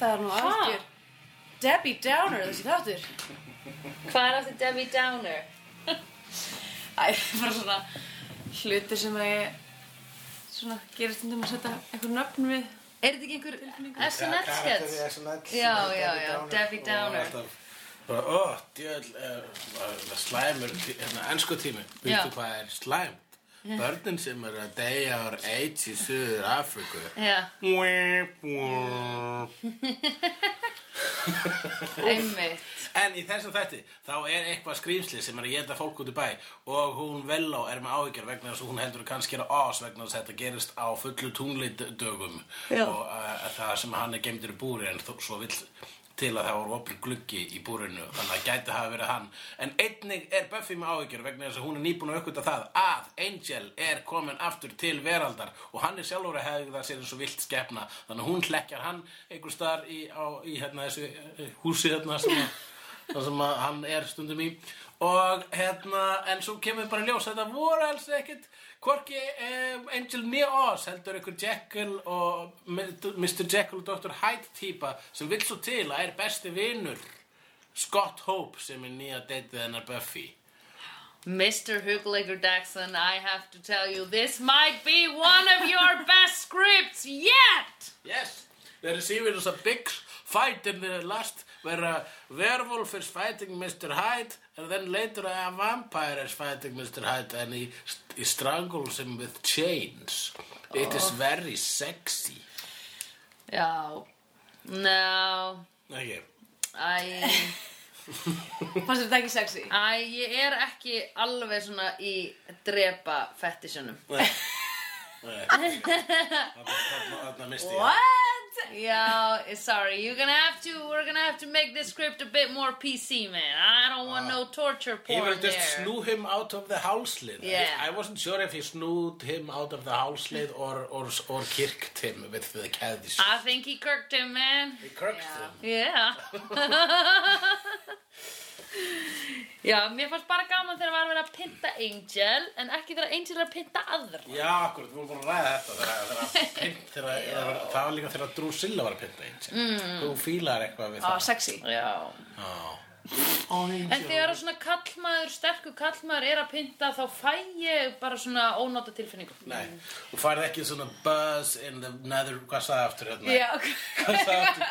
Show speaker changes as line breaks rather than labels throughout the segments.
Ah, Debbie Downer þessi þáttur
Hvað er átti Debbie Downer?
Æ, bara svona hlutir sem að ég svona gerir stundum að setja einhver nöfn við
Er þetta ekki einhver SNL-skets?
Karakter í SNL
Já,
sem er
já, já, Debbie Downer.
Og alltaf bara, ó, djöðl, er, er slæmur, tí- hérna, ennsku tími.
Já.
Veitu hvað er slæmt? Börnin sem eru að deyja ár 8 í Suður Afríku.
Já,
Wip, wip.
einmitt.
En í þessum þætti, þá er eitthvað skrýmsli sem er að geta fólk út í bæ og hún Velló er með áhyggjur vegna þess að hún heldur kannski er ás vegna þess að þetta gerist á fullu tunglidögum
Já.
og uh, það sem hann er gemdur í búri en þó, svo vill til að það voru opið gluggi í búrinu þannig að gæti hafa verið hann en einnig er Buffy með áhyggjur vegna þess að hún er nýbúin að aukvita það að Angel er komin aftur til veraldar og hann er sjálfur að hefði það sér eins og vilt skepna þannig að hún hlekkjar hann einhver staðar í, á, í hérna, þessu eh, húsi hérna, sem að það sem að hann er stundum í og hérna, en svo kemur bara ljós þetta voru alls ekkit hvorki um, Angel né Oz heldur ykkur Jekyll og Mr. Jekyll og Dr. Hyde típa sem vill svo til að er besti vinur Scott Hope sem er nýja deytið hennar Buffy
Mr. Hugleiker Daxon, I have to tell you, this might be one of your best scripts yet!
Yes, the receiver is a big fight in the last where a werewolf is fighting Mr. Hyde and then later a vampire is fighting Mr. Hyde and he, he strangles him with chains. It
Oh.
is very sexy.
Já, no,
Okay.
I,
Fannst þetta ekki sexy?
I, ég er ekki alveg svona í drepa fetisjunum.
Þarna misti ég.
What?
Yeah, eh, sorry. You're gonna have to. We're gonna have to make this script a bit more PC, man. I don't want no torture
He
porn
will
there.
just snoo him out of the houslid.
Yeah.
I, I wasn't sure if he snooed him out of the houslid or, or, or kirked him with the caddies.
I think he kirked him, man.
He kirked him.
Ah. Yeah. Já, mér fannst bara gaman þegar var að vera að pynta Angel en ekki þegar Angel er að pynta aðra.
Já, akkur, við vorum búin að ræða þetta þegar- þegar að pint, þegar, þegar, það var líka þegar Drusilla var að pinta eins mm. Þú fílar eitthvað við
Það
það
var Ah, sexy
Já.
Já
En þegar svona kallmaður, sterkur kallmaður er að pynta þá fæ ég bara svona ónóta tilfinningu.
Nei,
Mm.
þú færði ekki svona buzz in the nether, hvað sagði aftur hérna?
Já, ok
Hvað sagði aftur?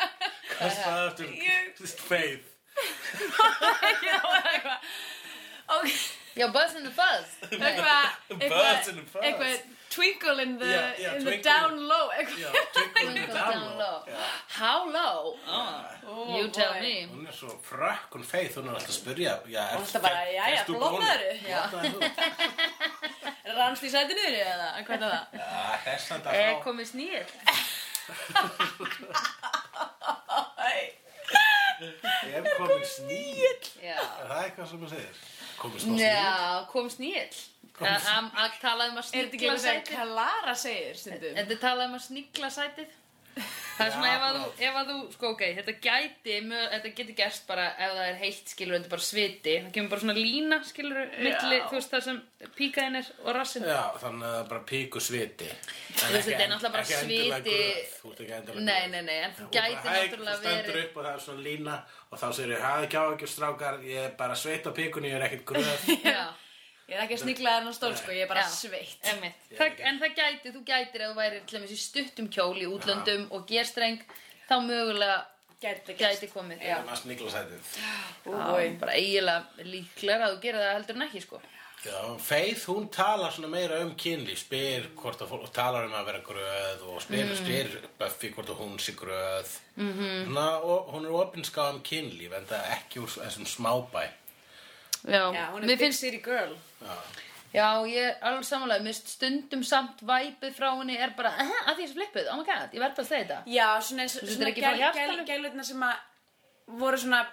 Hvað sagði aftur?
Ég-
Just faith
Það var eitthvað Ok,
Já, Buzz in the Buzz.
eitthvað
Birds in the
eitthvað-
first.
Eitthvað twinkle in the,
Já, já,
in the
twinkle.
down low
Já,
Eitthvað
twinkle
Twinkle down low. How low?
Oh
You tell
boy.
me.
Hún er svo frökk, hún faith, hún er alltaf að spyrja Já, er,
Hún er alltaf bara,
fer-
jæja,
ferst þú
blokkaðu?
bónu?
Já.
Blokkaðu þú?
Rannst í sætinu þínu eða? En Hvernig var það?
Já, þess að
Er
það
komið snýr?
Æ,
er komin sníl
Já.
Er það eitthvað sem þú segir? Komin smá sníl
Já, kom snýll. Það am- að tala um að
Er þetta ekki
sníkla
eitthvað sem
sætið.
Klara segir stundum?
Þetta tala um að sníkla sætið. Það er svona
Já,
ef að þú,
blá.
ef að þú, sko ok, þetta gæti, mö- þetta getur gerst bara ef það er heilt skilur, þetta er bara sviti, það kemur bara svona lína skilur, milli, þú veist það sem píkaðin er og rassinn.
Já, þannig að það er bara píku sviti Þú
veist, þetta er náttúrulega bara sviti-
Þú ert ekki endilega
Nei, nei, nei, en það gæti náttúrulega
Þú stendur
verið.
upp og það er svona lína og þá segir ég, hafði ekki á ekki strákar ég er bara sveit á píkunni, ég er ekkert gröð
Já,
Ég er ekki að snigla þennan stól sko, ég er bara
Já.
sveitt
einmitt.
Ég er
Það,
ekki-
en það gæti, þú gætir ef þú væri til dæmis í stuttum kjól í útlöndum og gerstreng, þá mögulega
Gæti gæti
gæti komið.
Já.
Maður snikla sætið
Já,
Úi,
bara eiginlega líklar að þú gerir það heldur en ekki sko
Já, Faith, hún talar svona meira um kynli spyr hvort að fólk, og talar um að vera gröð og spyr,
Mhm.
spyr Buffy hvort að hún sé gröð mm -hmm. Svona, og hún er opinskáð um kynlíf en það er ekki úr þessum smábæ
Já,
já, hún
mér
er big
finnst
city girl
Já,
Já, ég er alveg samanlega, mér finnst stundum samt væpið frá henni er bara "Eh, að því ég er svo flippuð, oh my god, ég verð bara að segja þetta
Já, svona, eins-
þetta er
svona
ekki frá
gæl-
hjartanu?
gæl- gælutna sem að voru svona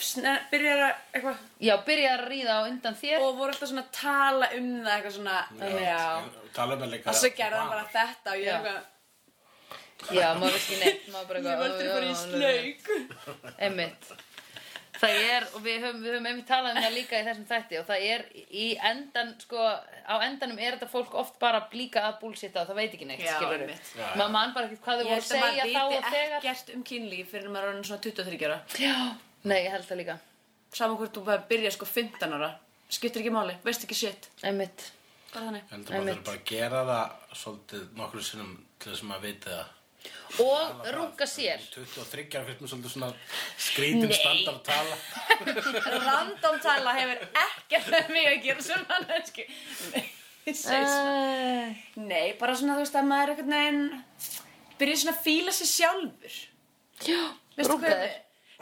sne- byrjar að eitthvað
Já, byrjar að ríða á undan þér
og voru alltaf svona að tala um það eitthvað svona, já
En Tala um að líka
og svo gerði hann bara þetta og ég
Já.
eitthvað
Já, maður veist ekki neitt, maður bara
Ég
eitthvað, "Oh,
völdur
"Ó,
bara
já,
í
alveg."
slaug
oh." Einmitt Það er, og við höfum, við höfum einmitt talað um það líka í þessum þætti og það er í endan, sko, á endanum er þetta fólk oft bara líka að búlsitta og það veit ekki neitt,
Já,
skilur við.
einmitt.
Já, já.
Maður mann bara ekkert hvað þau
Ég
voru að
held að maður
segja þá og
viti
þegar.
ekkert um kynlíf fyrir maður er orðin svona 23 ára.
Já, nei, ég held það líka.
Saman hvort þú bara byrja sko 15 ára. Skiptir ekki máli, veist ekki shit.
Einmitt.
Bara þannig.
heldur bara
Einmitt.
þeir bara að gera það svolítið nokkru sinnum til þess að maður veit það
Og runga sér.
23 ára finnst mér svolítið svona skrítin standard tala
Random tala hefur ekkert með mig að gera sem mannesku. Nei, ég segi svona.
Æ,
Nei, bara svona þú veist að maður er einhvern veginn byrja svona að fíla sér sjálfur.
Já,
Veistu
runga
hvað-
þér.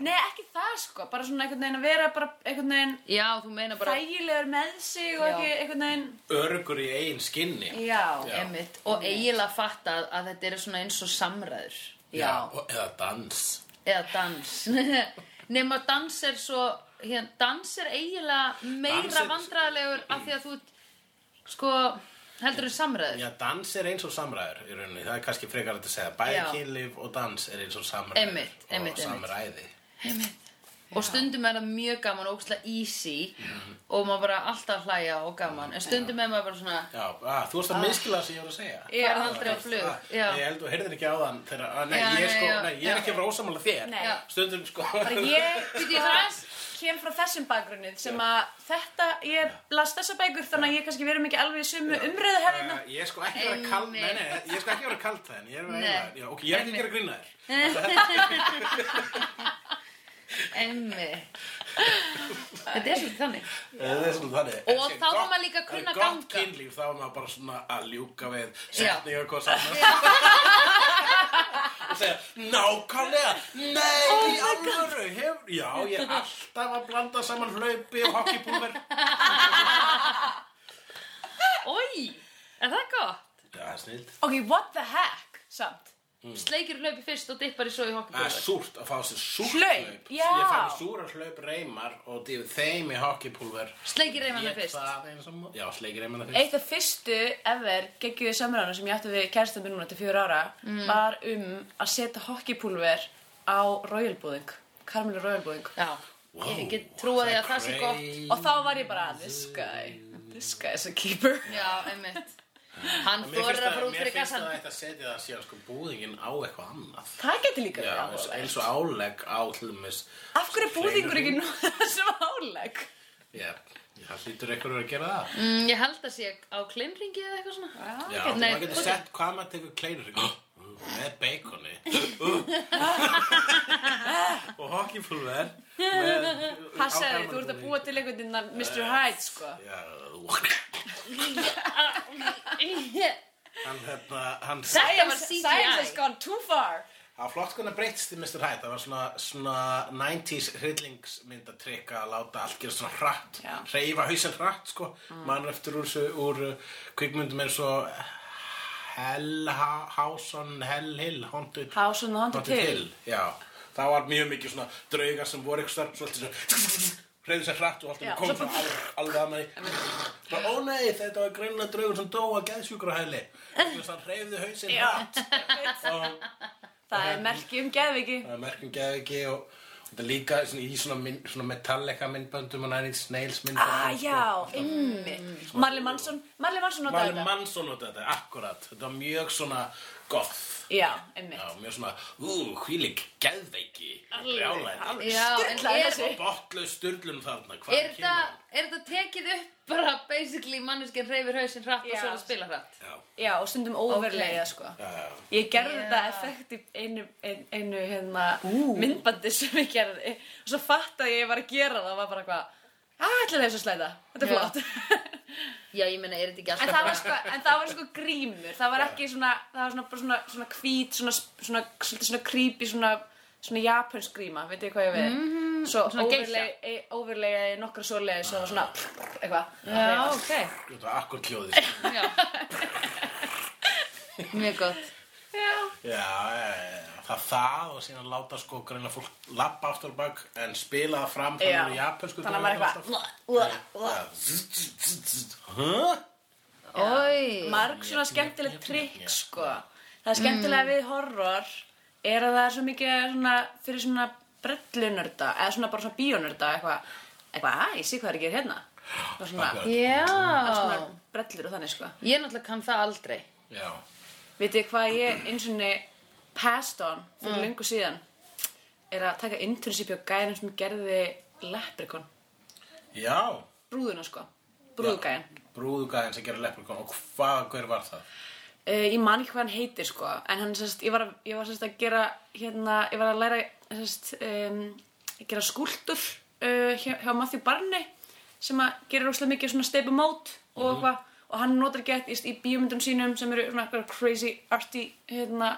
Nei, ekki það sko. Bara svona einhvern veginn að vera bara einhvern veginn
Já, þú meina bara,
þægilegur með sig og
Já.
ekki einhvern veginn...
Örugur í eigin skinni
Já.
Já.
einmitt, og eiginlega fatta að, að þetta eru svona eins og samræður.
Já.
og- Eða dans
Eða dans. Nefn að dans er svo, hérna, dans er eiginlega
Dans
meira
er-
vandræðilegur af því að þú, ert, sko, heldur en samræður.
Já, dans er eins og samræður í rauninni Það er kannski frekar hægt að segja Bæði
Já.
kynlíf og dans er eins og samræður
Einmitt, einmitt, einmitt.
Og samræði
Og stundum er það mjög gaman og ógstlega easy og maður bara alltaf hlæja og gaman. En stundum er maður bara svona,
Já, að, þú varst að miskila það sem ég var að segja
Ég er Ah. aldrei á flug,
Ah,
já.
Ég held þú heyrðir ekki á þann þegar, að, nei,
Já,
ég,
nei,
sko,
já,
nei, ég er
já.
ekki að vera ósamála þér
Nei.
Já.
Stundum sko
Bara ég
Bíddu,
sko,
ég þarf-
kem frá þessum bakgrunnið sem að þetta, ég las þessa bækur þannig að ég kannski verðum ekki alveg í sömu umröðu
hérna.
hefðina.
Ég er sko ekki að vera kald Nei, nei, ég er sko ekki að vera kald það En ég er að vera
Nei.
eiginlega Já, ok, ég er ekki að gera grína þér
emmi. þetta er svolítið þannig.
Það er svolítið þannig
Og
En sé,
þá var
gott-
maður líka að kunna
en Gott
ganga.
kynlíf, þá var maður bara svona að ljúka við Setningu og hvað saman Og segja, nákvæmlega Nei,
Oh
í alvöru hefur, Já, ég er alltaf að blanda saman hlaupi og hokkipúver
Ói, er það gott?
Já, það er snild
Ok, what the heck, samt.
Mm.
Sleikir hlaupi fyrst og dippar í svo í
Það er
hokkupúlver.
súrt að fá sér súrt
Hlaup, já.
Ég fæ mér súra hlaup reymar og dýf þeim í hockeypulver
Sleikir reymana
Ég
fyrst.
það eins og mót Já, sleikir reymana fyrst
Eitt af fyrstu ever geggjuðu samræðuna sem ég átti við kæristum minn núna til fjögur ára
Mm.
var um að setja hokkipúlver á royalbúðing, karmelu royalbúðing.
Já, ég get trúið að það sé gott.
Og þá var ég bara, this guy, this guy is a keeper.
Já, einmitt. Hann
Mm. Mér
þorir
finnst
að
það,
fara út
mér
fyrir
finnst það
gassan.
að þetta setja það síðan sko búðingin á eitthvað annað
Það geti líka
Já,
verið
eins-
áhugavert.
eins og álegg á hlumis
Af hverju er búðingur ekki nú þessum álegg?
Já, það hlýtur eitthvað að gera það
Mm, ég held að sé á klimringi eða eitthvað svona.
Já,
ok. Nei,
maður getur
ok.
sett hvað maður tekur kleinur Mm, með beikoni og hockeypulver með
Passaði, þú ert að búa til einhvern veginn að Mr. Hyde, sko.
Já, hann hérna, hann
Þetta var
Science- Science has
CGI.
gone too far.
Það var flott konar breytist í Mr. Hyde, það var svona, svona 90s hryllingsmyndatrykk að láta allt gera svona hratt,
Já.
reyfa hausinn hratt sko, mm. mann eftir úr, þessu- úr uh, kvikmyndum eins og Hell, Ha- House on Hell Hill, Haunted,
House on the Haunted Hill.
já, það var mjög mikið svona draugar sem voru eitthvað svolítið svona reyðu sér hratt og alltaf
Já,
kom
svo
svona alveg, alveg að maður bara, ó nei, þetta var greinlega draugur sem dó að geðsjúkra hæli, þannig að hann reyðu hausinn
Já.
hratt og
Það er merki um geðviki.
Það er merkjum geðviki og og þetta er líka svona, í svona, mynd, svona Metallica myndböndum og Nine Inch Nails myndböndum. sko.
Ah, já, ymmið. Marley Manson, Marley Manson notaði
Mæli
þetta.
Mansson og þetta, akkurat. Þetta var mjög svona goth.
Já,
Já,
ymmið.
mjög svona, ú, hvílík geðveiki. Brjálæði.
Já, en
Sturlaði
er,
þessi.
Botlaus sturlun þarna, hvað
er, þetta, er þetta tekið upp bara basically manneskinn reyfir hausinn hratt og
Já.
svo að spila hratt?
Já,
Já, og stundum overlega, sko.
já, já.
Ég gerði
Já.
þetta effekt í einu, ein, einu hérna, myndbandi sem ég gerði og svo fattaði ég að ég var að gera það og var bara eitthvað, að ætla þessu slæða, þetta er
Já.
flott.
Já, ég meina, er þetta ekki
en,
alltaf
það var sko, en það var sko grímur, það var ekki svona, það var svona, bara svona, svona hvít, svona, svona, svona, svona creepy, svona, svona japansk gríma, veit ég hvað ég við?
Mhm.
svo e,
svona geisha.
overlay- overlayaði nokkra svoleiðis og svona, eitthvað.
Já, ok.
Þetta var akkur hljóðið. sko.
Já. Mjög gott.
Já.
Já, já, já, já. Það það og síðan láta sko greina fólk lappa aftur á bak en spila það fram
Já.
þannig að japansku
Þannig að maður
draugar
eitthvað,
alltaf. Já, zzz, zzz, zzz, zzz. Huh?
Ói.
marg svona skemmtileg trikk sko það er skemmtilega við horror er að það er svo mikið svona, fyrir svona brellunörda eða svona bara svona bíónörda eitthvað, eitthvað, hæ, ég sé hvað er ekki hérna og svona,
Akkurat.
alls
Já.
konar brellur og þannig sko
Ég náttúrulega kann það aldrei.
Já.
Vitið þið hvað ég eins og niður passed on fyrir löngu síðan er að taka internship hjá gæðinum sem gerði leprikon,
Já.
brúðuna sko, brúðugæðin.
Brúðugæðin sem gerir leppurkon og hvað, hver var það?
Uh, ég man ekki hvað hann heitir sko, en hann sérst, ég var, að- ég var sérst að gera, hérna, ég var að læra, sérst, um, gera skúltur uh, hjá, hjá Matthew Barney sem að gera rúslega mikið svona steipumót og eitthvað og hann notar gett í, í bíómyndum sínum sem eru svona eitthvað crazy, arty, hérna,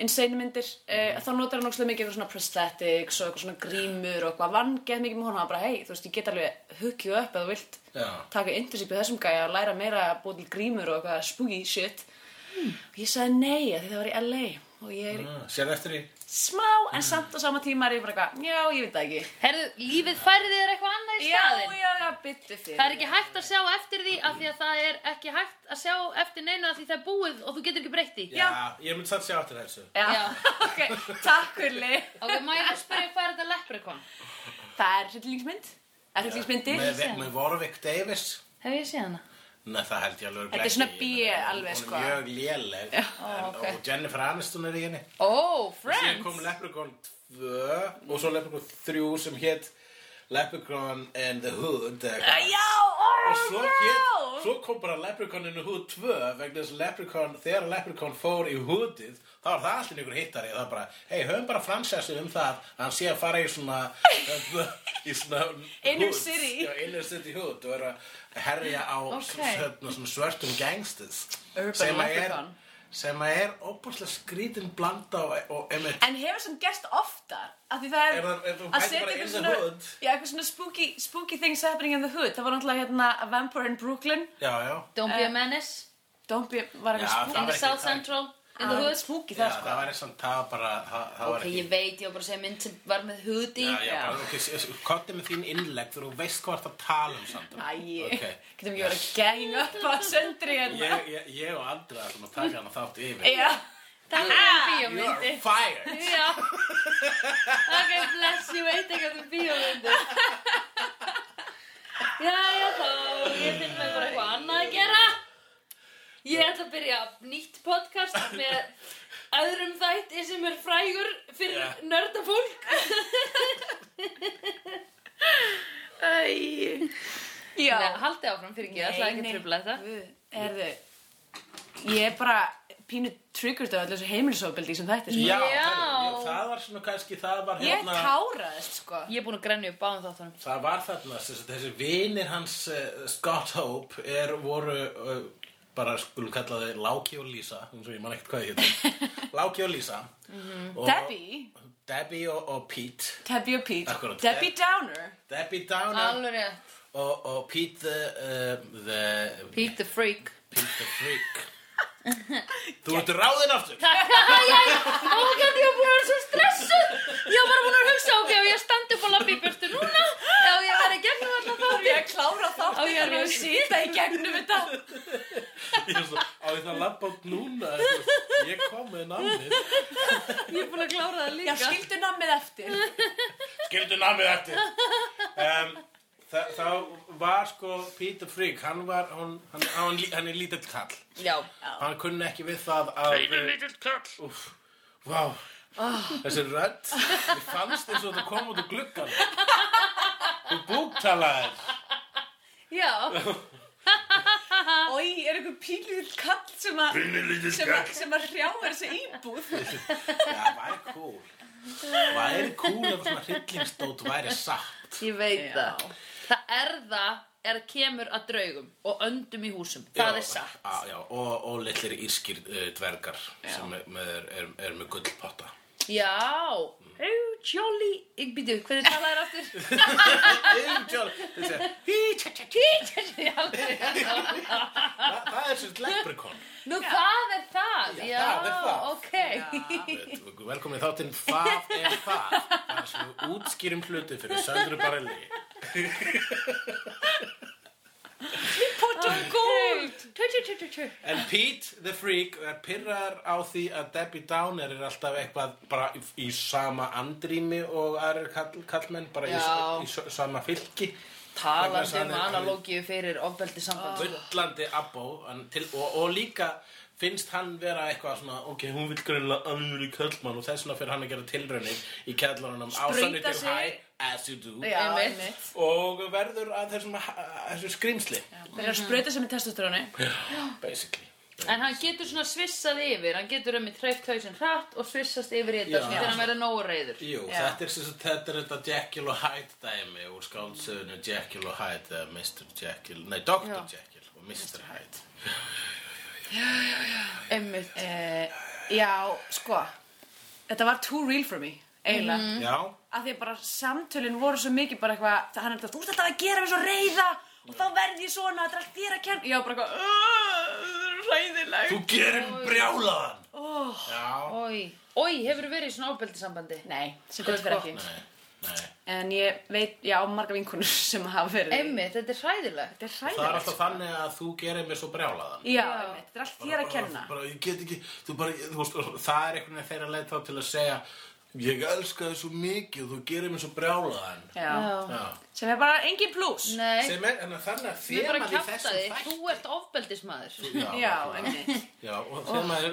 insane myndir, uh, þá notar hann rúslega mikið eitthvað svona prosthetics og eitthvað svona grímur og eitthvað vann gett mikið með honum, hann var bara, hei, þú veist, ég get alveg hugjuð upp eða þú vilt
Já.
taka internship í þessum gæja og læra meira að búa til grímur og eitthvað spooky shit og ég sagði nei af því það var í LA og ég er
Ah, Sér eftir í?
smá en samt á sama tíma er ég bara eitthvað já ég veit það ekki
Herðu, lífið færði þér eitthvað annað í
já
staðinn.
já já byttu fyrir
Það er ekki hægt að sjá eftir því af því að það er ekki hægt að sjá eftir neina af því það er búið og þú getur ekki breytt því.
Já.
Ég myndi satt sjá eftir þessu.
já.
Já.
ok takk Hulli
Ok, má ég að spyrja hvað er þetta leprechaun?
það er hryllingsmynd það er hryllingsmyndir
Með, með Warwick Davis.
Hef ég séð hana?
Nei, það held ég alveg
Þetta er
ekki.
svona B
Ég meina,
alveg, sko. Ah,
Hún er mjög léleg. en-
Ó, ok.
Og Jennifer Aniston er í henni.
Ó,
Síðan
Friends!
kom Leprechaun 2 og svo Leprechaun 3 sem hétt Leprechaun and the Hood eða
Æ,
eitthvað.
já
Og
oh
svo, hét,
no
svo kom bara Leprechaun in the Hood 2 vegna þess að Leprechaun, þegar Leprechaun fór í hútið þá var það allir einhver hittari það var bara, hei, höfum bara fransessu um það að hann sé að fara í svona í svona
Inner
hood.
city.
Já, inner city hood og er að herja á
Ok.
svona, svona svörtum gangsters
Urban
sem að er
Leprechaun.
sem að er opaslega skrítin blanda og, og einmitt
En hefur sem gerst oftar af því það er,
Er það- er það-
að
hætti
setja
bara
eitthvað
in the
svona,
hood?
já, eitthvað svona spooky, spooky things happening in the hood. Það var náttúrulega hérna A Vampire in Brooklyn,
Já, já.
Don't be a menace,
Don't be, var
Já,
eitthvað
in
það
spooky.
the
var ekki-
South
það-
Central, in the
Það var
hood.
spooky
Já,
það
það
sko.
var eins og það var bara, það, það var
Ok,
ekki
ég veit, ég var bara að segja mynd sem var með hud í.
Já, já,
Já.
bara, ok, s- s- komdu með þín innlegg þegar þú veist hvað það tala um Sandra
Æi,
Ok.
getum ekki verið að gang upp að söndri hérna.
Ég, ég, ég og Andra ætlum að taka hana þátt yfir
Já,
Það er um
You are
bíómyndi.
fired
Já. Ok, bless, ég veit eitthvað um bíómyndi. Já, já, þá, ég finn mig bara eitthvað annað að gera. Ég ætla að byrja nýtt podcast með öðrum þætti sem er frægur fyrir
Já.
yeah. nördafólk.
æi. Já.
Nei, haldi áfram fyrir ekki, ég ætla ekki
Nei, nei.
að trubla þetta.
Guð, Herðu, ég er bara pínu triggered á allir þessu heimilisofbeldi sem þetta er
Já,
svona.
Já.
herru, ég- það var svona kannski, það var
Ég
hérna
táraðist sko.
Ég er búin að grenja upp báðum þáttunum.
Það var þarna, sem sagt, þessi vinir hans uh, Scott Hope er voru uh, bara skulum kalla þau Láki og Lísa, eins og ég man ekkert hvað ég heitir Láki og Lísa og,
Mhm. Debbie,
Debbie og, og Pete
Debbie og Pete,
Akkurat.
Debbie Downer.
Debbie Downer
Alveg rétt.
og, og Pete the, uh, the
Pete the Freak.
Pete the Freak Þú ert ráðinn aftur
Takk, já, já, já, ok, ég var búin að vera svo stressuð Ég var bara búin að hugsa, ok, ef ég standi upp og labbi í burtu núna Já, ég var í gegnum alltaf
Þá er ég að klára þátt
Á, ég er
Þannig að
alveg-
sýta í gegnum þetta
Ég er svo, á ég það að labba út núna eitthvað. Ég kom með námið
Ég er búin að klára það
Já,
líka
skildu namið eftir
Skildu námið eftir um, þa Þá var sko Pete the Freak Hann var, hann, hann, hann, hann er lítill kall
Já,
Hann kunni ekki við það að Pínu lítill kall Úf, vá Þessi rödd Ég fannst eins og þú kom út úr gluggan Þú búktalaðir
já,
Ói, er einhver píluð kall sem að
Pínu lítill
sem að, sem að hrjáver þessi íbúð
Já, væri cool Væri cool ef svona hryllingsdót væri satt
ég veit
Já.
það Það er það er að kemur að draugum og öndum í húsum Það
Já,
er satt
á, já, og, og litlir írskir uh, dvergar sem er með, er, er með gullpotta
Já, hey, jolly Ég býtu, hvernig talaði það aftur?
Angel þessi, hí, tja, tja, tja.
Já, alveg rétt.
Þa, Það er svolítið leprikon
Nú, það er það
Já,
Já,
það er það.
ok
Velkomin í þáttinn Það er það Það er svona útskýrum hluti fyrir Söndru Barelli
Pot of gold!
Tjö, tjö, tjö, tjö, tjö.
En Pete the Freak er pyrrar á því að Debbie Downer er alltaf eitthvað bara í, í sama andrými og aðrir kall, kallmenn bara í,
Já.
í s- sama fylki Vegna
Talandi
þess að
um
hann er-
analógíu fyrir ofbeldi samband sko.
bullandi abbo hann til, og, og líka finnst hann vera eitthvað svona ok, hún vil greinlega alvöru kallmann og þess vegna fyrir hann að gera tilraunir í kallarunum á
Sprauta
Sunny
sig.
Day High as you do
Já,
Einmitt.
einmitt.
og verður að þessum, þessum skrýmsli
Byrjar að sprauta sem í testosteróni.
basically
En hann getur svona svissað yfir, hann getur um í treyft hausinn hratt og svissast yfir í
Já.
þetta svona þegar hann verður nógu reyður.
Jú,
Já.
þetta er, sem sagt- þetta er þetta Jekyll og Hyde dæmi úr skáldsöðinu Jekyll og Hyde eða Mr. Jekyll, nei Dr.
Já.
Jekyll og Mr. Hyde
Einmitt.
Uh, já, sko. Þetta var too real for me, eiginlega.
Já,
Af því að bara samtölinn voru svo mikið bara eitthvað, það hann er þetta, þú ert alltaf að gera mig svo reyða og þá verð ég svona, þetta er allt þér að kenna. Já, bara eitthvað, reyðileg.
þú gerir mig brjálaðan Já,
Ói, ói, hefur verið í svona ofbeldi sambandi?
Nei, sem betur
Sko.
fyrir ekki.
nei, nei
En ég veit, já, marga vinkunur sem hafa verið. í-
Einmitt, þetta er hræðilegt.
Þetta er
Það er
hræðilegt.
alltaf þannig að þú gerir mig svo brjálaðan
Já,
Já.
einmitt, þetta er allt þér að kenna.
bara, bara, ég get ekki, þú bara, þú veist, og það er einhvern veginn þeirra leið þá til að segja Ég elska þig svo mikið og þú gerir mig svo brjálaðan
Já.
Já,
Sem er bara engin plús.
Nei,
sem er, en þannig að
við bara
þemað í
kjafta
þessum
þig, þú ert ofbeldismæður.
Já,
Já,
nákvæmlega.
einmitt.
Já, og, oh. er,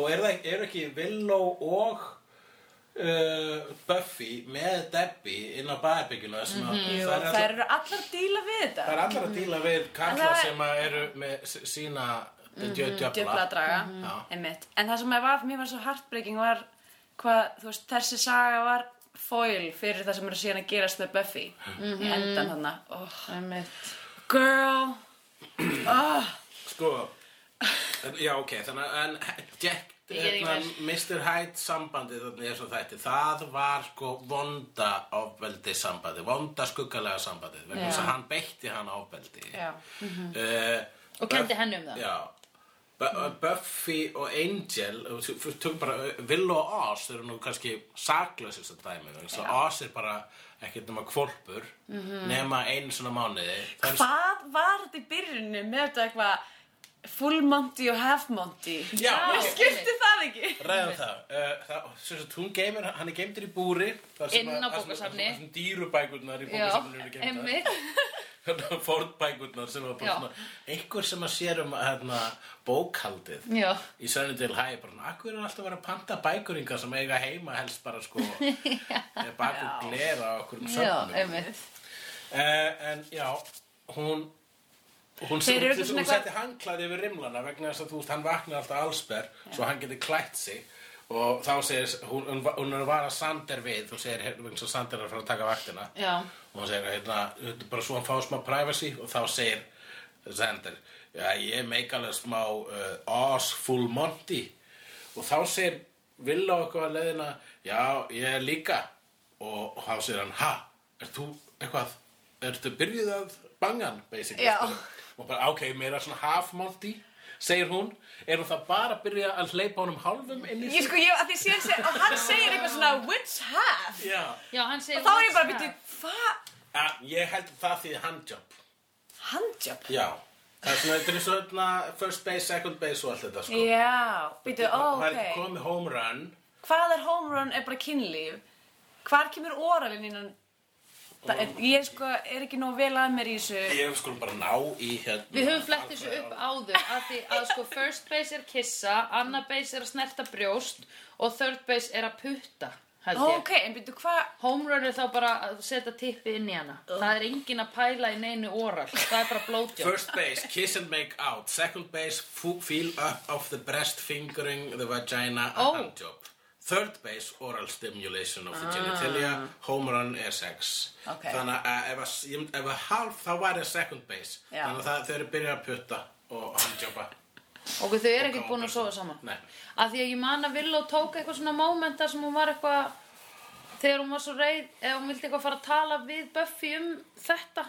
og er það er ekki Villó og uh, Buffy með Debbie inn á baðherbygginu sem að
Mhm. Jú,
það er
þær
allar,
eru allar að díla við þetta.
það er allar að díla við karla
En það er- Mhm,
sem að eru með s- sína djö,
djöfla
djöfla
að draga
Já.
einmitt. en það sem ég var, mér var svo heartbreaking var hvað, þú veist, þessi saga var foil fyrir það sem eru síðan að gerast með Buffy í endan þarna oh.
Einmitt.
girl oh.
Sko, en- já ok, þannig að en Jack,
Ég get ekki
hérna,
meir.
Mr. Hyde sambandið þannig er svo þætti, það var sko vonda ofbeldi sambandi, vonda skuggalega sambandið, vegna þess að hann beitti hann ofbeldi.
Já.
Uh,
Mhm. Og kenndi henni um það. Mhm.
Já Bu- Buffy og Angel uh, t- f- tökum bara, uh, Will og Oz eru nú kannski saklausist að dæmi vegna þess að Oz er bara ekkert nema kvolpur
Mhm.
nema einu svona mánuði Það er-
hvað var þetta í byrjunni með þetta eitthvað full monty og half monty
Já,
Já.
ok,
skipti það ekki
ræðum það, uh, það sem sagt, hún geymir, hann er geymdur í búri þar sem
Inn á
að- þar sem-
bókasafni.
þar sem dýrubækurnar
Já,
í bókasafninu eru geymdar
einmitt.
fórnbækurnar sem var bara
Já.
svona einhver sem að sér um hérna, bókhaldið
Já.
í Sunnydale High bara, svona, akkur er alltaf að vera að panta bækuringa sem eiga heima helst bara sko eh, eða baku glera á okkur um
Já,
söfnum
einmitt.
Eh, en já, hún hún, hún,
Þeir eru
hún,
svona
hún
eitthvað-
setti hanglaði yfir rimlana vegna þess að þú veist, hann vaknaði alltaf allsber svo hann geti klætt sig og þá segir, hún, hún, hún er að vara Sander við og segir, hérna, vegna svo Sander er að fara að taka vaktina
Já.
og hún segir, hérna, þetta er bara svo hann fá smá privacy og þá segir Sander, já, ég meik alveg smá uh, Oz Full Monty og þá segir Villa okkur að leiðina, já, ég líka og þá segir hann, ha, er þú eitthvað, ertu byrjuð að bangan, basically
Já.
sko? og bara ok, meira svona half Monty segir hún, er hún það bara að byrja að hleypa honum hálfum inn í
ég sko, ég, að því síðan seg, og hann segir eitthvað svona which half
Já,
Já, hann segir...
og þá er ég bara
"What's
að byrja,
that?"
hvað,
að, ég held að það því handjob
handjob
Já, það er svona, þetta er svona first base, second base og allt þetta sko
já, byrja, ó,
Það er
ok
ekki komið home run
hvað er home run er bara kynlíf hvar kemur oralinn innan Það er, ég sko er ekki nóg vel að mér í þessu
Ég skulum bara ná í hérna
Við höfum flett þessu upp áður að því að sko first base er kissa, annar base er að snerta brjóst og third base er að putta, held ég.
ok, en byrju hvað
Home run er þá bara að setja tippi inn í hana. Það er engin að pæla í neinu oral. Það er bara blowjob.
First base, kiss and make out Second base, fu- feel up of the breast fingering the vagina and
Ó.
handjob Third base, oral stimulation of the
Ah.
genitalia Home run er sex
Ok.
Þannig að eh, ef, að- ég myndi- ef að half þá væri second base
Já.
Þannig að það, þau eru byrjað að putta og handjobba
Og þau eru
Og
ekkert búin að sofa saman.
Nei.
Að því að ég man að Villó tók eitthvað svona mómenta sem hún var eitthvað, þegar hún var svo reið, eða hún vildi eitthvað fara að tala við Buffy um þetta.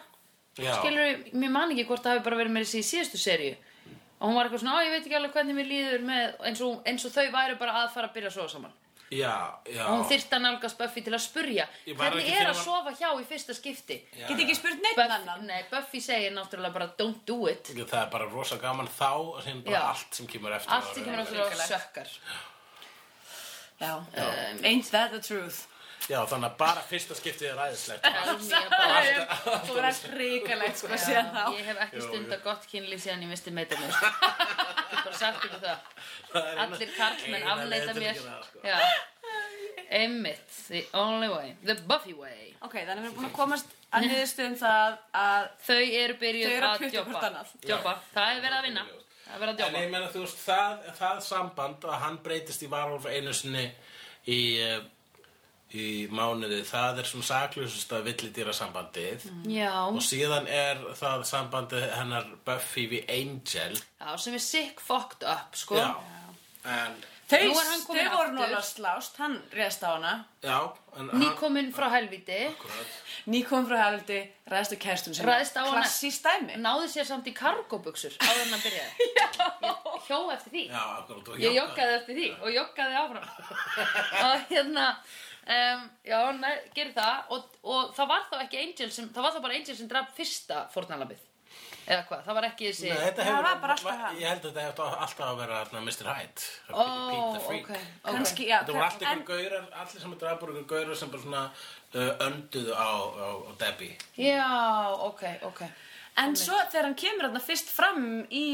Já.
Skilur, mér man ekki hvort það hafi bara verið með þessi í síðustu seríu. Og hún var eitthvað svona, á ég veit ekki alveg hvernig mér líður með, eins og, eins og þau væri bara að fara að byrja að sofa saman.
Já, já.
og hún þyrfti að nálgast Buffy til að spurja
Ég var
hvernig
ekki
er að
fyrir að-
sofa hjá í fyrsta skipti
Já,
Get
já.
ekki spurt neitt
Buffy,
annan
nei, Buffy segir náttúrulega bara don't do it
Ég- Það er bara rosa gaman þá og síðan bara
Já.
allt sem kemur eftir.
allt sem kemur á svo
Hrikalegt.
sökkar
Já, um, ain't that the truth
Já, þannig að bara fyrsta skiptið er æðislegt.
Ég
Þú verður að hrikalegt sko síðan þá
hef ekki
Jú, jú.
stundar gott kynlíf síðan ég misti meita mér Ég get bara sagt ykkur það
Það er eina-
Allir karlmenn
eina
afleita
leiðin til að
mér
gera það, sko.
Já Einmitt, the only way, the Buffy way
Ok, þannig við erum búin að komast að
Mm.
niðurstöðum það að
Þau eru
Þau
byrjuð
eru að
að
putta hvort
jobba
annað.
Jobba, það er verið að vinna Það er verið að
En
jobba
ég meina þú veist, það, það samband að hann breytist í varúlf einu sinni í, eh, í mánuði, það er svona saklusust að villidýra sambandið.
Mm.
Og
Já,
síðan er það sambandið hennar Buffy við Angel.
já, sem er sick fucked up, sko
Já. En,
þau,
Nú er hann
þau
kominn
voru nú
aftur.
alveg að slást, hann réðst á hana
já, en
Nýkomin frá helviti
Ný kom frá helviti, ræðist á kærstun sem
Ræðst á hana.
Klassískt dæmi
Náði sér samt í kargóbuxur áður en hann byrjaði Ég hjó eftir því
Já, akkurat, og
Ég joggaði eftir því og joggaði áfram og hérna um, já, ne, gerir það og, og það var þá ekki Angel sem það var þá bara Angel sem draf fyrsta fórnalabið eða hvað, það var ekki þessi
Nei, þetta
Það
hefur,
var bara alltaf hann.
Ég held að þetta hefur alltaf að vera þarna Mr. Hyde
ó,
Pete the Freak
ok, ok
Kannski, já
Þetta voru allt
en-
ykkur gaurar, allir sem drafur ykkur gaurar sem bara svona uh, önduðu á, á, á Debbie
já, ok, ok
En svo þegar hann kemur hann fyrst fram í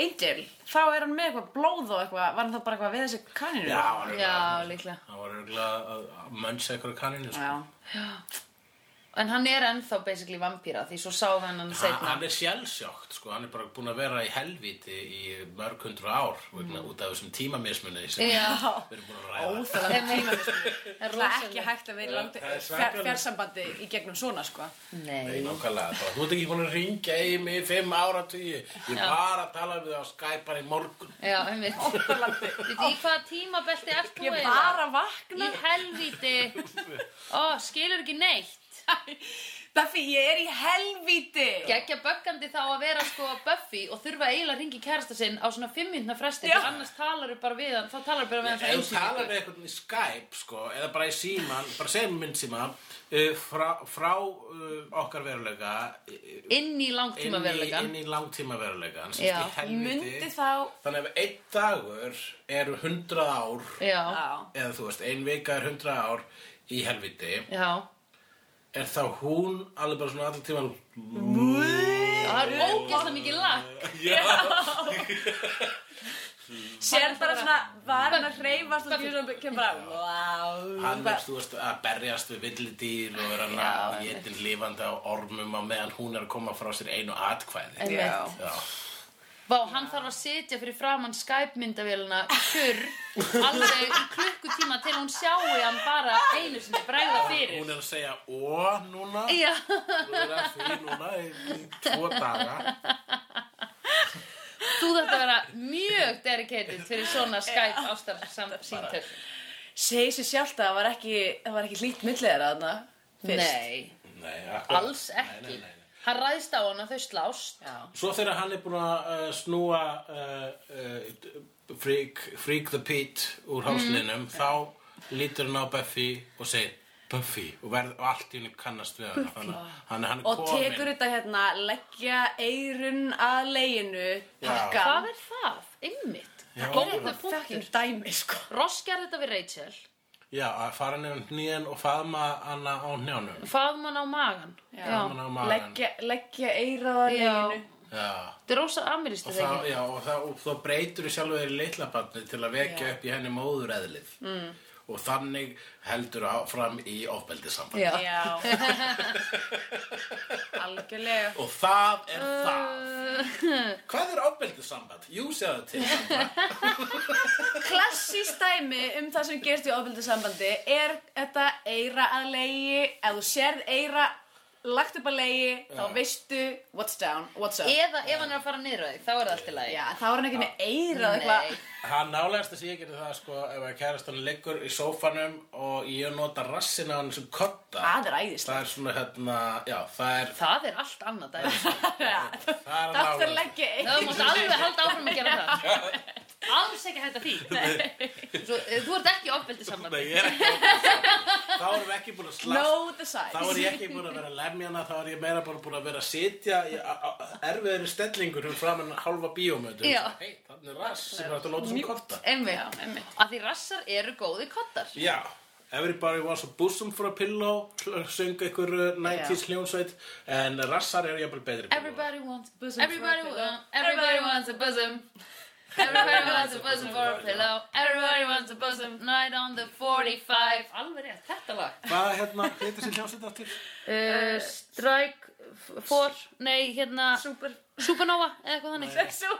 Angel, þá er hann með eitthvað blóð og eitthvað, var hann þá bara eitthvað við þessi kaninu?
Já, hann
já, líklega
Það var örgulega að að muncha ykkur kanninu sko.
Já.
en hann er ennþá basically vampíra því svo sáum við hann
hann,
setna
hann er sjálfsjókt, sko, hann er bara búinn að vera í helvíti í mörg hundru ár vegna út af þessum tímamismunni sem
Mm. já,
við erum búin að ræða
Óþægilegt.
það er
Það er ekki
rosalega
hægt að vera í langt
Það er
fjär-
svakalegt.
fjarsambandi í gegnum svona, sko.
Nei,
nei,
nákvæmlega, þá, þú ert ekki búin að ringja í mig í fimm ára tíu Ég var að tala við á Skype bara í morgun
já, einmitt
Óþægilegt.
Viti, í hvaða tímabelti ert þú
Ég
eiginlega?
var að vakna.
Í helvíti Ó, skilur ekki neitt
Buffy, ég er í helvíti.
Gekja böggandi þá að vera sko Buffy og þurfa eiginlega að ringi kærasta sinn á svona fimmjöndna fresti
Já.
Já. annars talar bara við hann, þá talar bara við hann
Ef þú
svona
talar
einu
við einhvern í Skype, sko, eða bara í síman, bara segir minn síma, uh, frá, frá uh, okkar veruleika, uh,
sinni. Inn í
inn
langtíma
í,
veruleika
inn í langtíma veruleika, hann
Já.
sést í
Mundi
helviti.
þá...
Þannig ef einn dagur eru hundrað ár,
Já,
Já.
eða þú veist, ein vika er hundrað ár í helviti,
já
er þá hún alveg bara svona allir tíman,
Það er ógeðslega mikið lakk
Sér bara svona, var hann að hreyfast og því svona kemur bara, wow.
hann er, þú veist, að berjast við villidýr og er hann að getin lifandi á ormum á meðan hún er að koma frá sér einu atkvæði.
Já.
Já.
Vá, hann þarf að sitja fyrir framann Skype-myndavélina kjur alveg í klukkutíma til hún sjái hann bara einu sinni bregða fyrir
Hún er að segja ó núna
Já,
Hún er að því núna í í tvo daga
þú þarft að vera mjög dedicated fyrir svona Skype ástarsýntöl
Segir sér sjálft að það var ekki, það var ekki hlýtt millið þeirra þarna. fyrst.
Nei,
Nei, akkurat.
alls
Nei,
ekki
nei, nei, nei.
Hann ræðst á hana, þau slást
Svo þegar hann er búinn að uh, snúa uh, uh, freak, freak the Pete
Mhm.
úr hálslinum þá lítur hann á Buffy og segir Buffy og, verð, og allt í henni kannast við hann Þannig að hann, hann er
Og tekur
komin
þetta hérna, leggja eirun að leginu, pakka.
Hvað er það? Einmitt
Já.
Góð
Þetta
með punktur
dæmi, sko.
Ross gerði þetta við Rachel
Já, að fara nefn nýjan og faðma hana á hnjánum
Faðum hann á magan Já,
Faðma hana á magann.
Leggja, leggja eirað að
Já.
leginu.
Já
Þetta er rosa amirist
Og
þetta
þá,
ekki
já, og þá, og þá breytur þú sjálfur þér í litla barni til að vekja upp í henni móðureðlið. Mm. Og þannig heldur á, fram í ofbeldissamband.
Já.
Já. Algjörlega.
Og það er það. Hvað er ofbeldissamband? Jú, segðu til. Sandra.
Klassíst dæmi um það sem gerst í ofbildasambandi er þetta eira að leiði, ef þú sérð eira lagt upp að leiði, þá veistu what's down, what's up.
Eða ef hann er að fara niður á þig, þá er það allt í lagi
Já, þá er hann ekki með eirað eitthvað.
Nei,
Það nálegast að sé ekki það, sko, ef að kærastan liggur í sófanum og ég nota rassin á hann sem kotta.
Það er æðislegt.
Það er svona, hérna, já, það er,
Það er allt annað dæmi
Já,
það er
Það er
nálegast.
leggja eirað.
Það mátt alveg halda áfram að gera það alls ekki hægt að því Svo, eh, Þú ert ekki ofbeldi saman
Nei, ég er ekki Þá erum við ekki búin að slast
Know the size.
Þá er ég ekki búin að vera lemjana, þá er ég meira bara búin að vera að sitja í a- a- erfiðari stellingur fyrir framan halva bíómötu.
Já.
Hei, þannig er rass sem er hægt að láta svo korta.
Já,
Einmitt,
einmitt.
að því rassar eru góði kottar
Já, everybody wants a bosom for a pillow, sl- söngu ykkur uh, 90s hljónsveit, en rassar eru jafnvel betri. pillow.
Everybody wants
Bosom
everybody,
for a
wa-
pillow.
everybody wants a bosom Everybody wants a bosom for a pillow Everybody wants a bosom Night on the 45 Alveg rétt, þetta lag
Hvað hérna, heitir þessi hljónsveit aftur?
uh, Strike f- for, nei hérna
Super.
Supernova eða eitthvað þannig
Svo.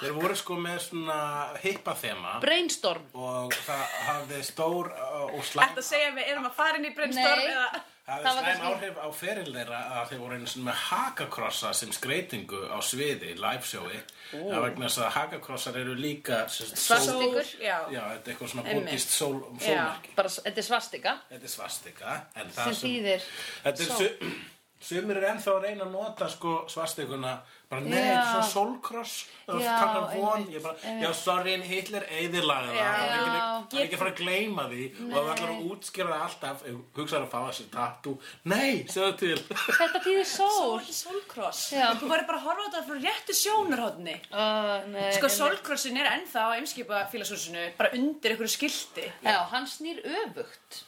Þeir voru sko með svona hippa þema
Brainstorm
og það hafði stór uh, og slæm,
Þetta segja við erum að fara inn í brainstorm
Nei.
eða...
hafði
það var
slæm
kannski-
áhrif á feril þeirra að þeir voru einu sinni með hakakrossa sem skreitingu á sviði, livesjói það er vegna þess að hakakrossar eru líka sem sagt,
Svart-
sól-
Sól.
Já.
Já, þetta er eitthvað svona
Einmitt.
bútist sól, sólmerki
bara, s- þetta er svastika
Þetta er svastika en það
sem þýðir
Þetta er
sól.
sum, sumir er ennþá að reyna að nota sko svastikuna bara nei,
Já.
þetta er svona sólkross það
Já,
kallar von,
einmitt,
ég bara,
einmitt.
já, sorry, en Hitler eðilaði það, það er ekki- það er ekki að fara að gleyma því og það ætlar að útskýra það alltaf ef hugsaður að fá þessi tattoo nei, segðu til
Þetta þýðir sól
Sól- Sólkross.
Já.
Þú voru bara að horfa á þetta frá réttu sjónarhóðni.
uh, nei,
Sko,
einmitt.
sólkrossin er ennþá á eimskipa félagsúsinu, bara undir einhverju skilti.
Já, hann snýr öfugt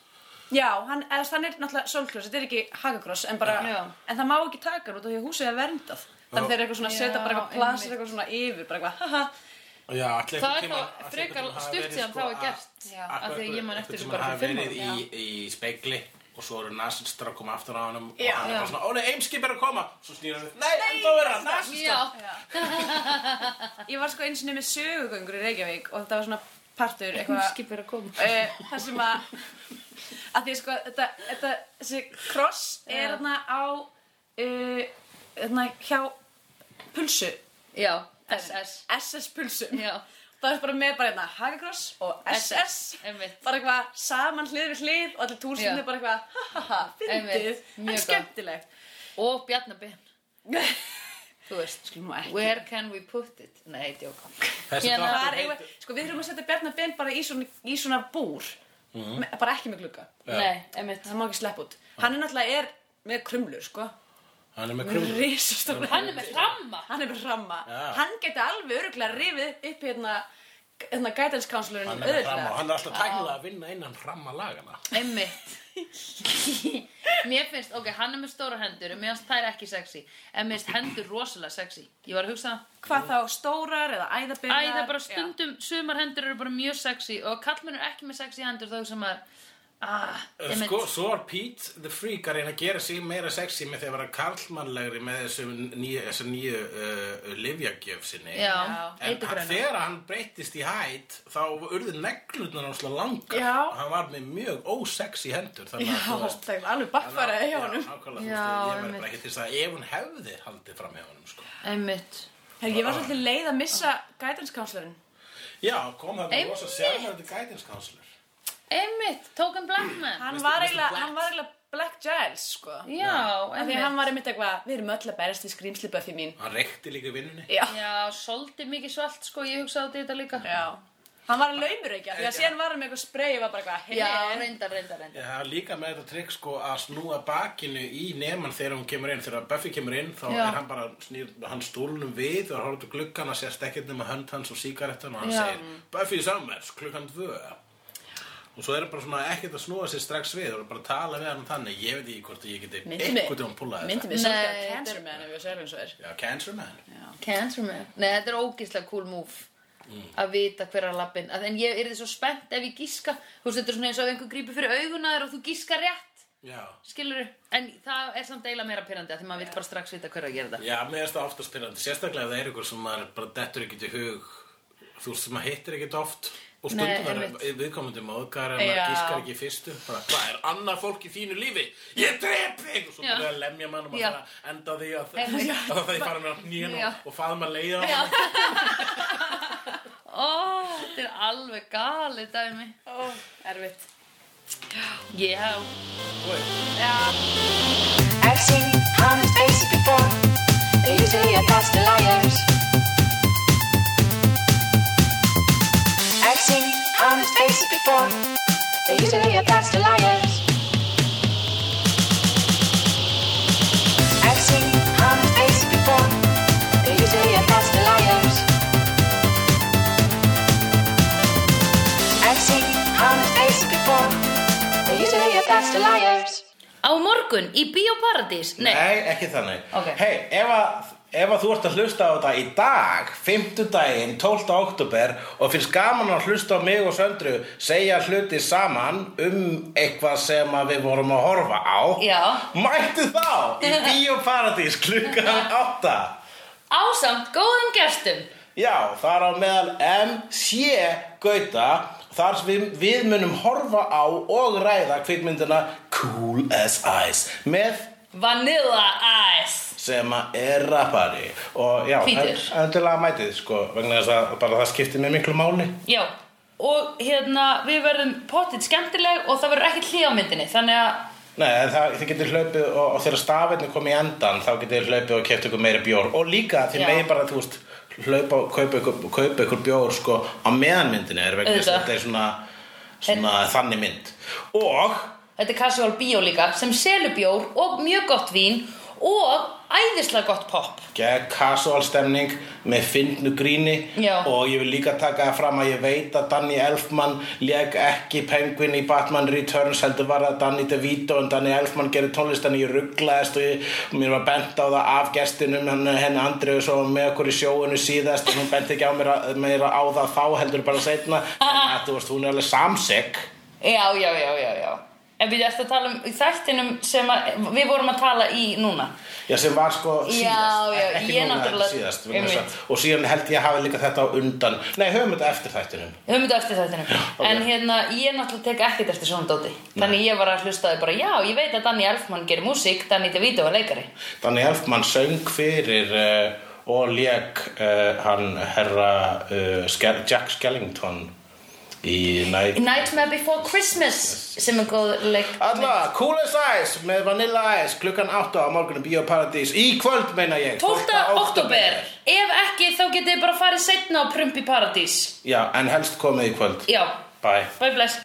Já, hann, eða þannig er náttúrulega sólkross, þetta er ekki hakakross, en bara,
Já.
en það má ekki taka hann út af því að húsið er verndað. Þannig
Já.
þeir eru eitthvað svona að setja bara eitthvað
Já,
plasir
einmitt.
eitthvað svona yfir, bara eitthvað, haha,
já, allir
Það er
einhvern tímann-
þá
allir
frekar
einhvern tímann hafa
stutt
verið,
síðan
sko,
það var
að-
gert
Já.
af því að ég man eftir þessu bara
hafa
fyrir
verið
fimm ára
í, í spegli og svo eru nasistar að koma aftur á hann og
Já.
hann er
Já.
bara svona, ó nei, eimskip er að koma svo snýra við, nei, ennþá vera,
Já,
nasistar
ég var sko eins og með sögugöngur í Reykjavík og þetta var svona partur
hún
eitthvað,
skipir að koma
uh, það sem að, að því sko, þetta, þetta, þessi kross
Já.
er þarna á, uh, þarna hjá pulsu,
Já, SS
SS pulsum.
Já,
Það er bara með bara hérna hakakross og SS.
einmitt
bara eitthvað saman hlið við hlið og allir túrstunni
Já.
bara eitthvað ha ha ha, fyndið,
Einmitt, mjög
en
gott.
skemmtilegt
Og Bjarnabinn, þú veist
Skulum nú ekki
Sko, Where can we put it? Nei, djóka
Þessi
Hérna-
þáttur
Hvar eigum við- Sko við þurfum að setja Bjarnar Ben bara í svona, í svona búr Me, bara ekki með glugga,
Já.
Nei, einmitt
það má ekki sleppa út Hann er náttúrulega er með krumlur sko
Hann er með krumlu
Rísastóra
Hann er með ramma
Hann er með ramma
Já.
Hann geti alveg öruglega rifið upp hérna hérna guidance
Hann
counselorinn
er með ramma og
auðvitað
hann er alltaf tæknilega að vinna innan ramma lagana
Einmitt Mér finnst, ok, hann er með stóra hendur en Mér finnst þær ekki sexy En mér finnst hendur rosalega sexy Ég var að hugsa það
Hvað þá stórar eða æðabirnar
Æ, það er bara stundum, sumar hendur eru bara mjög sexy og kallmenn eru ekki með sexy hendur þá sem að, ah, einmitt,
Sko, svo er Pete the Freak að reyna að gera sig meira sexy með því að vera karlmannlegri með þessu nýju, þessu nýju uh, livjagjöf sinni
já,
Já.
En hann,
eitugræna.
þegar hann breyttist í hætt þá urðu neglutnar hans langar
Já.
Hann var með mjög ósexy hendur
Já,
Þannig að þú veist
það er alveg bakfæraði hjá honum
Já, nákvæmlega, þú
Já,
veist, ég verður
einmitt.
bara ekki til þess að ef hún hefði haldið fram hjá honum sko.
Einmitt.
Herri, ég var svolítið leið að missa guidance counselorinn.
Já, kom það með
Einmitt.
rosa sjálfnændi gætinskánslur
Einmitt, Token Black Man.
Hann
Mr.
var
Mr.
eiginlega,
Black.
hann var eiginlega Black Giles, sko.
Já,
Af því að hann
einmitt.
var einmitt eitthvað, við erum öll að berast í skrýmsli Buffy mín.
Hann reykti líka í vinnunni
Já.
Já, svolítið mikið svalt, sko, ég hugsaði út í þetta líka.
Já. Hann var að laumur ekki, af því að
Já.
síðan var hann með eitthvað spray og var bara eitthvað,
Já,
hei,
reyndar, reyndar, reyndar.
Já, það er líka með þetta trikk sko að snúa bakinu í neman þegar hún kemur inn. Þegar Buffy kemur inn þá
Já.
er hann bara, snýr hann stólunum við og horfður gluggan að sérst ekkert nema hönd hans og sígarettan og hann
Já.
segir Buffy Summers klukkan tvö. Og svo er hann bara svona ekkert að snúa sér strax við og bara að tala við hann þannig. Ég veit ekki hvort ég geti
Myndi mig.
eitthvað til hann púlaði
myndi
þetta.
mig svolítið að
Nei,
cancer
þetta-
man ef ég var sérlega eins og er.
Já, cancer man.
Cancer Man. Nei, þetta er ógeðslega cool move. að vita hver að lappin en ég er þið svo spennt ef ég gíska þú veist þetta er svona eins og ef einhver grípur fyrir auguna þér og þú gískar rétt
Já.
skilur en það er samt eiginlega meira pyrrandi að því maður vil bara strax vita hver að gera þetta
Já, mér finnst það oftast pyrrandi. Sérstaklega ef það er ykkur sem maður bara dettur ekkert í hug. Þú veist, sem maður hittir ekkert oft. Og
Nei,
stundum
einmitt.
er viðkomandi móðgar en maður
Já.
gískar ekki í fyrstu. Bara, hvað er annað fólk í þínu lífi? Ég drep þig! Og svo
Já.
byrjar að lemja mann og
Já.
maður bara enda á því að
Einmitt.
að það fara með hann nýjan
Já.
og, og faðum að leiða
Já.
hann.
Ó, þetta er alveg galið dæmi.
Ó, erfitt.
Já.
I've seen honest faces before. They usually are past the liars. to your best liars. I've seen honest faces before. They're usually your best liars. I've seen honest faces before. They're usually your best liars.
Á morgun í Bíóparadís Nei,
Nei, ekki þannig.
Ok.
Hei, ef, að, ef að þú ert að hlusta á þetta í dag, 5. daginn, 12. oktober og finnst gaman að hlusta á mig og Söndru segja hluti saman um eitthvað sem að við vorum að horfa á,
Já.
mættu þá í Bíóparadís klukkan 8.
ásamt góðum gestum
Já, þar á meðal MC Gauta þar sem við, við munum horfa á og ræða kvikmyndina Cool as Ice með
Vanilla Ice
sem að er rappari og já,
Hvítur.
en- endilega mætið sko, vegna þess að bara það skiptir mér miklu máli
Já, og hérna við verðum pottitt skemmtileg og það verður ekki hlý á myndinni Þannig að
Nei, en það, þið getur hlaupið og, og þegar stafirni kom í endan þá getur þið hlaupið og keft ykkur meira bjór og líka þið
Já.
megið bara, þú veist, hlaupa og kaupa ykkur, kaupa ykkur bjór sko á meðanmyndinni er vegna þess að
Auðvitað.
þetta er svona, svona þannig mynd og
þetta er casual bíó líka sem selur bjór og mjög gott vín og æðislega gott pop
gegn casual stemning með fyndnu gríni
Já.
og ég vil líka taka það fram að ég veit að Danny Elfman leg ekki Penguin í Batman Returns heldur var það Danny DeVito en Danny Elfman gerir tónlist en ég rugglaðist og ég, mér var bent á það af gestinum hann, henni Andreu svo með okkur í sjóinu síðast en hún bent ekki á mér að, meira á það þá heldur bara seinna en að, þú veist hún er alveg samsik
Já, já, já, já, já En við erum að tala um þættinum sem að, við vorum að tala í núna
Já, sem var sko síðast,
Já, já,
ekki
ég
núna,
náttúrulega-
síðast vegna þess að-
Einmitt.
og síðan held ég hafi líka þetta á undan Nei, höfum þetta eftir þættinum
Við höfum þetta eftir þættinum
ok.
En hérna, ég náttúrulega tek ekkert eftir svona dóti Þannig ég var að hlusta þau bara Já, ég veit að Danny Elfman gerir músík Danny DeVito er leikari
Danny Elfman söng fyrir uh, og lék uh, hann herra uh, Sker Jack Skellington í næ...
Nightmare Before Christmas Sem er góð leik
Alla, Cool as Ice með Vanilla Ice klukkan 8 á morgunum Bíóparadís í kvöld meina ég
12. oktober Ef ekki, þá getið þið bara farið setna á Prumpi Paradís
Já, en helst komið í kvöld
Já,
Bye
bye bless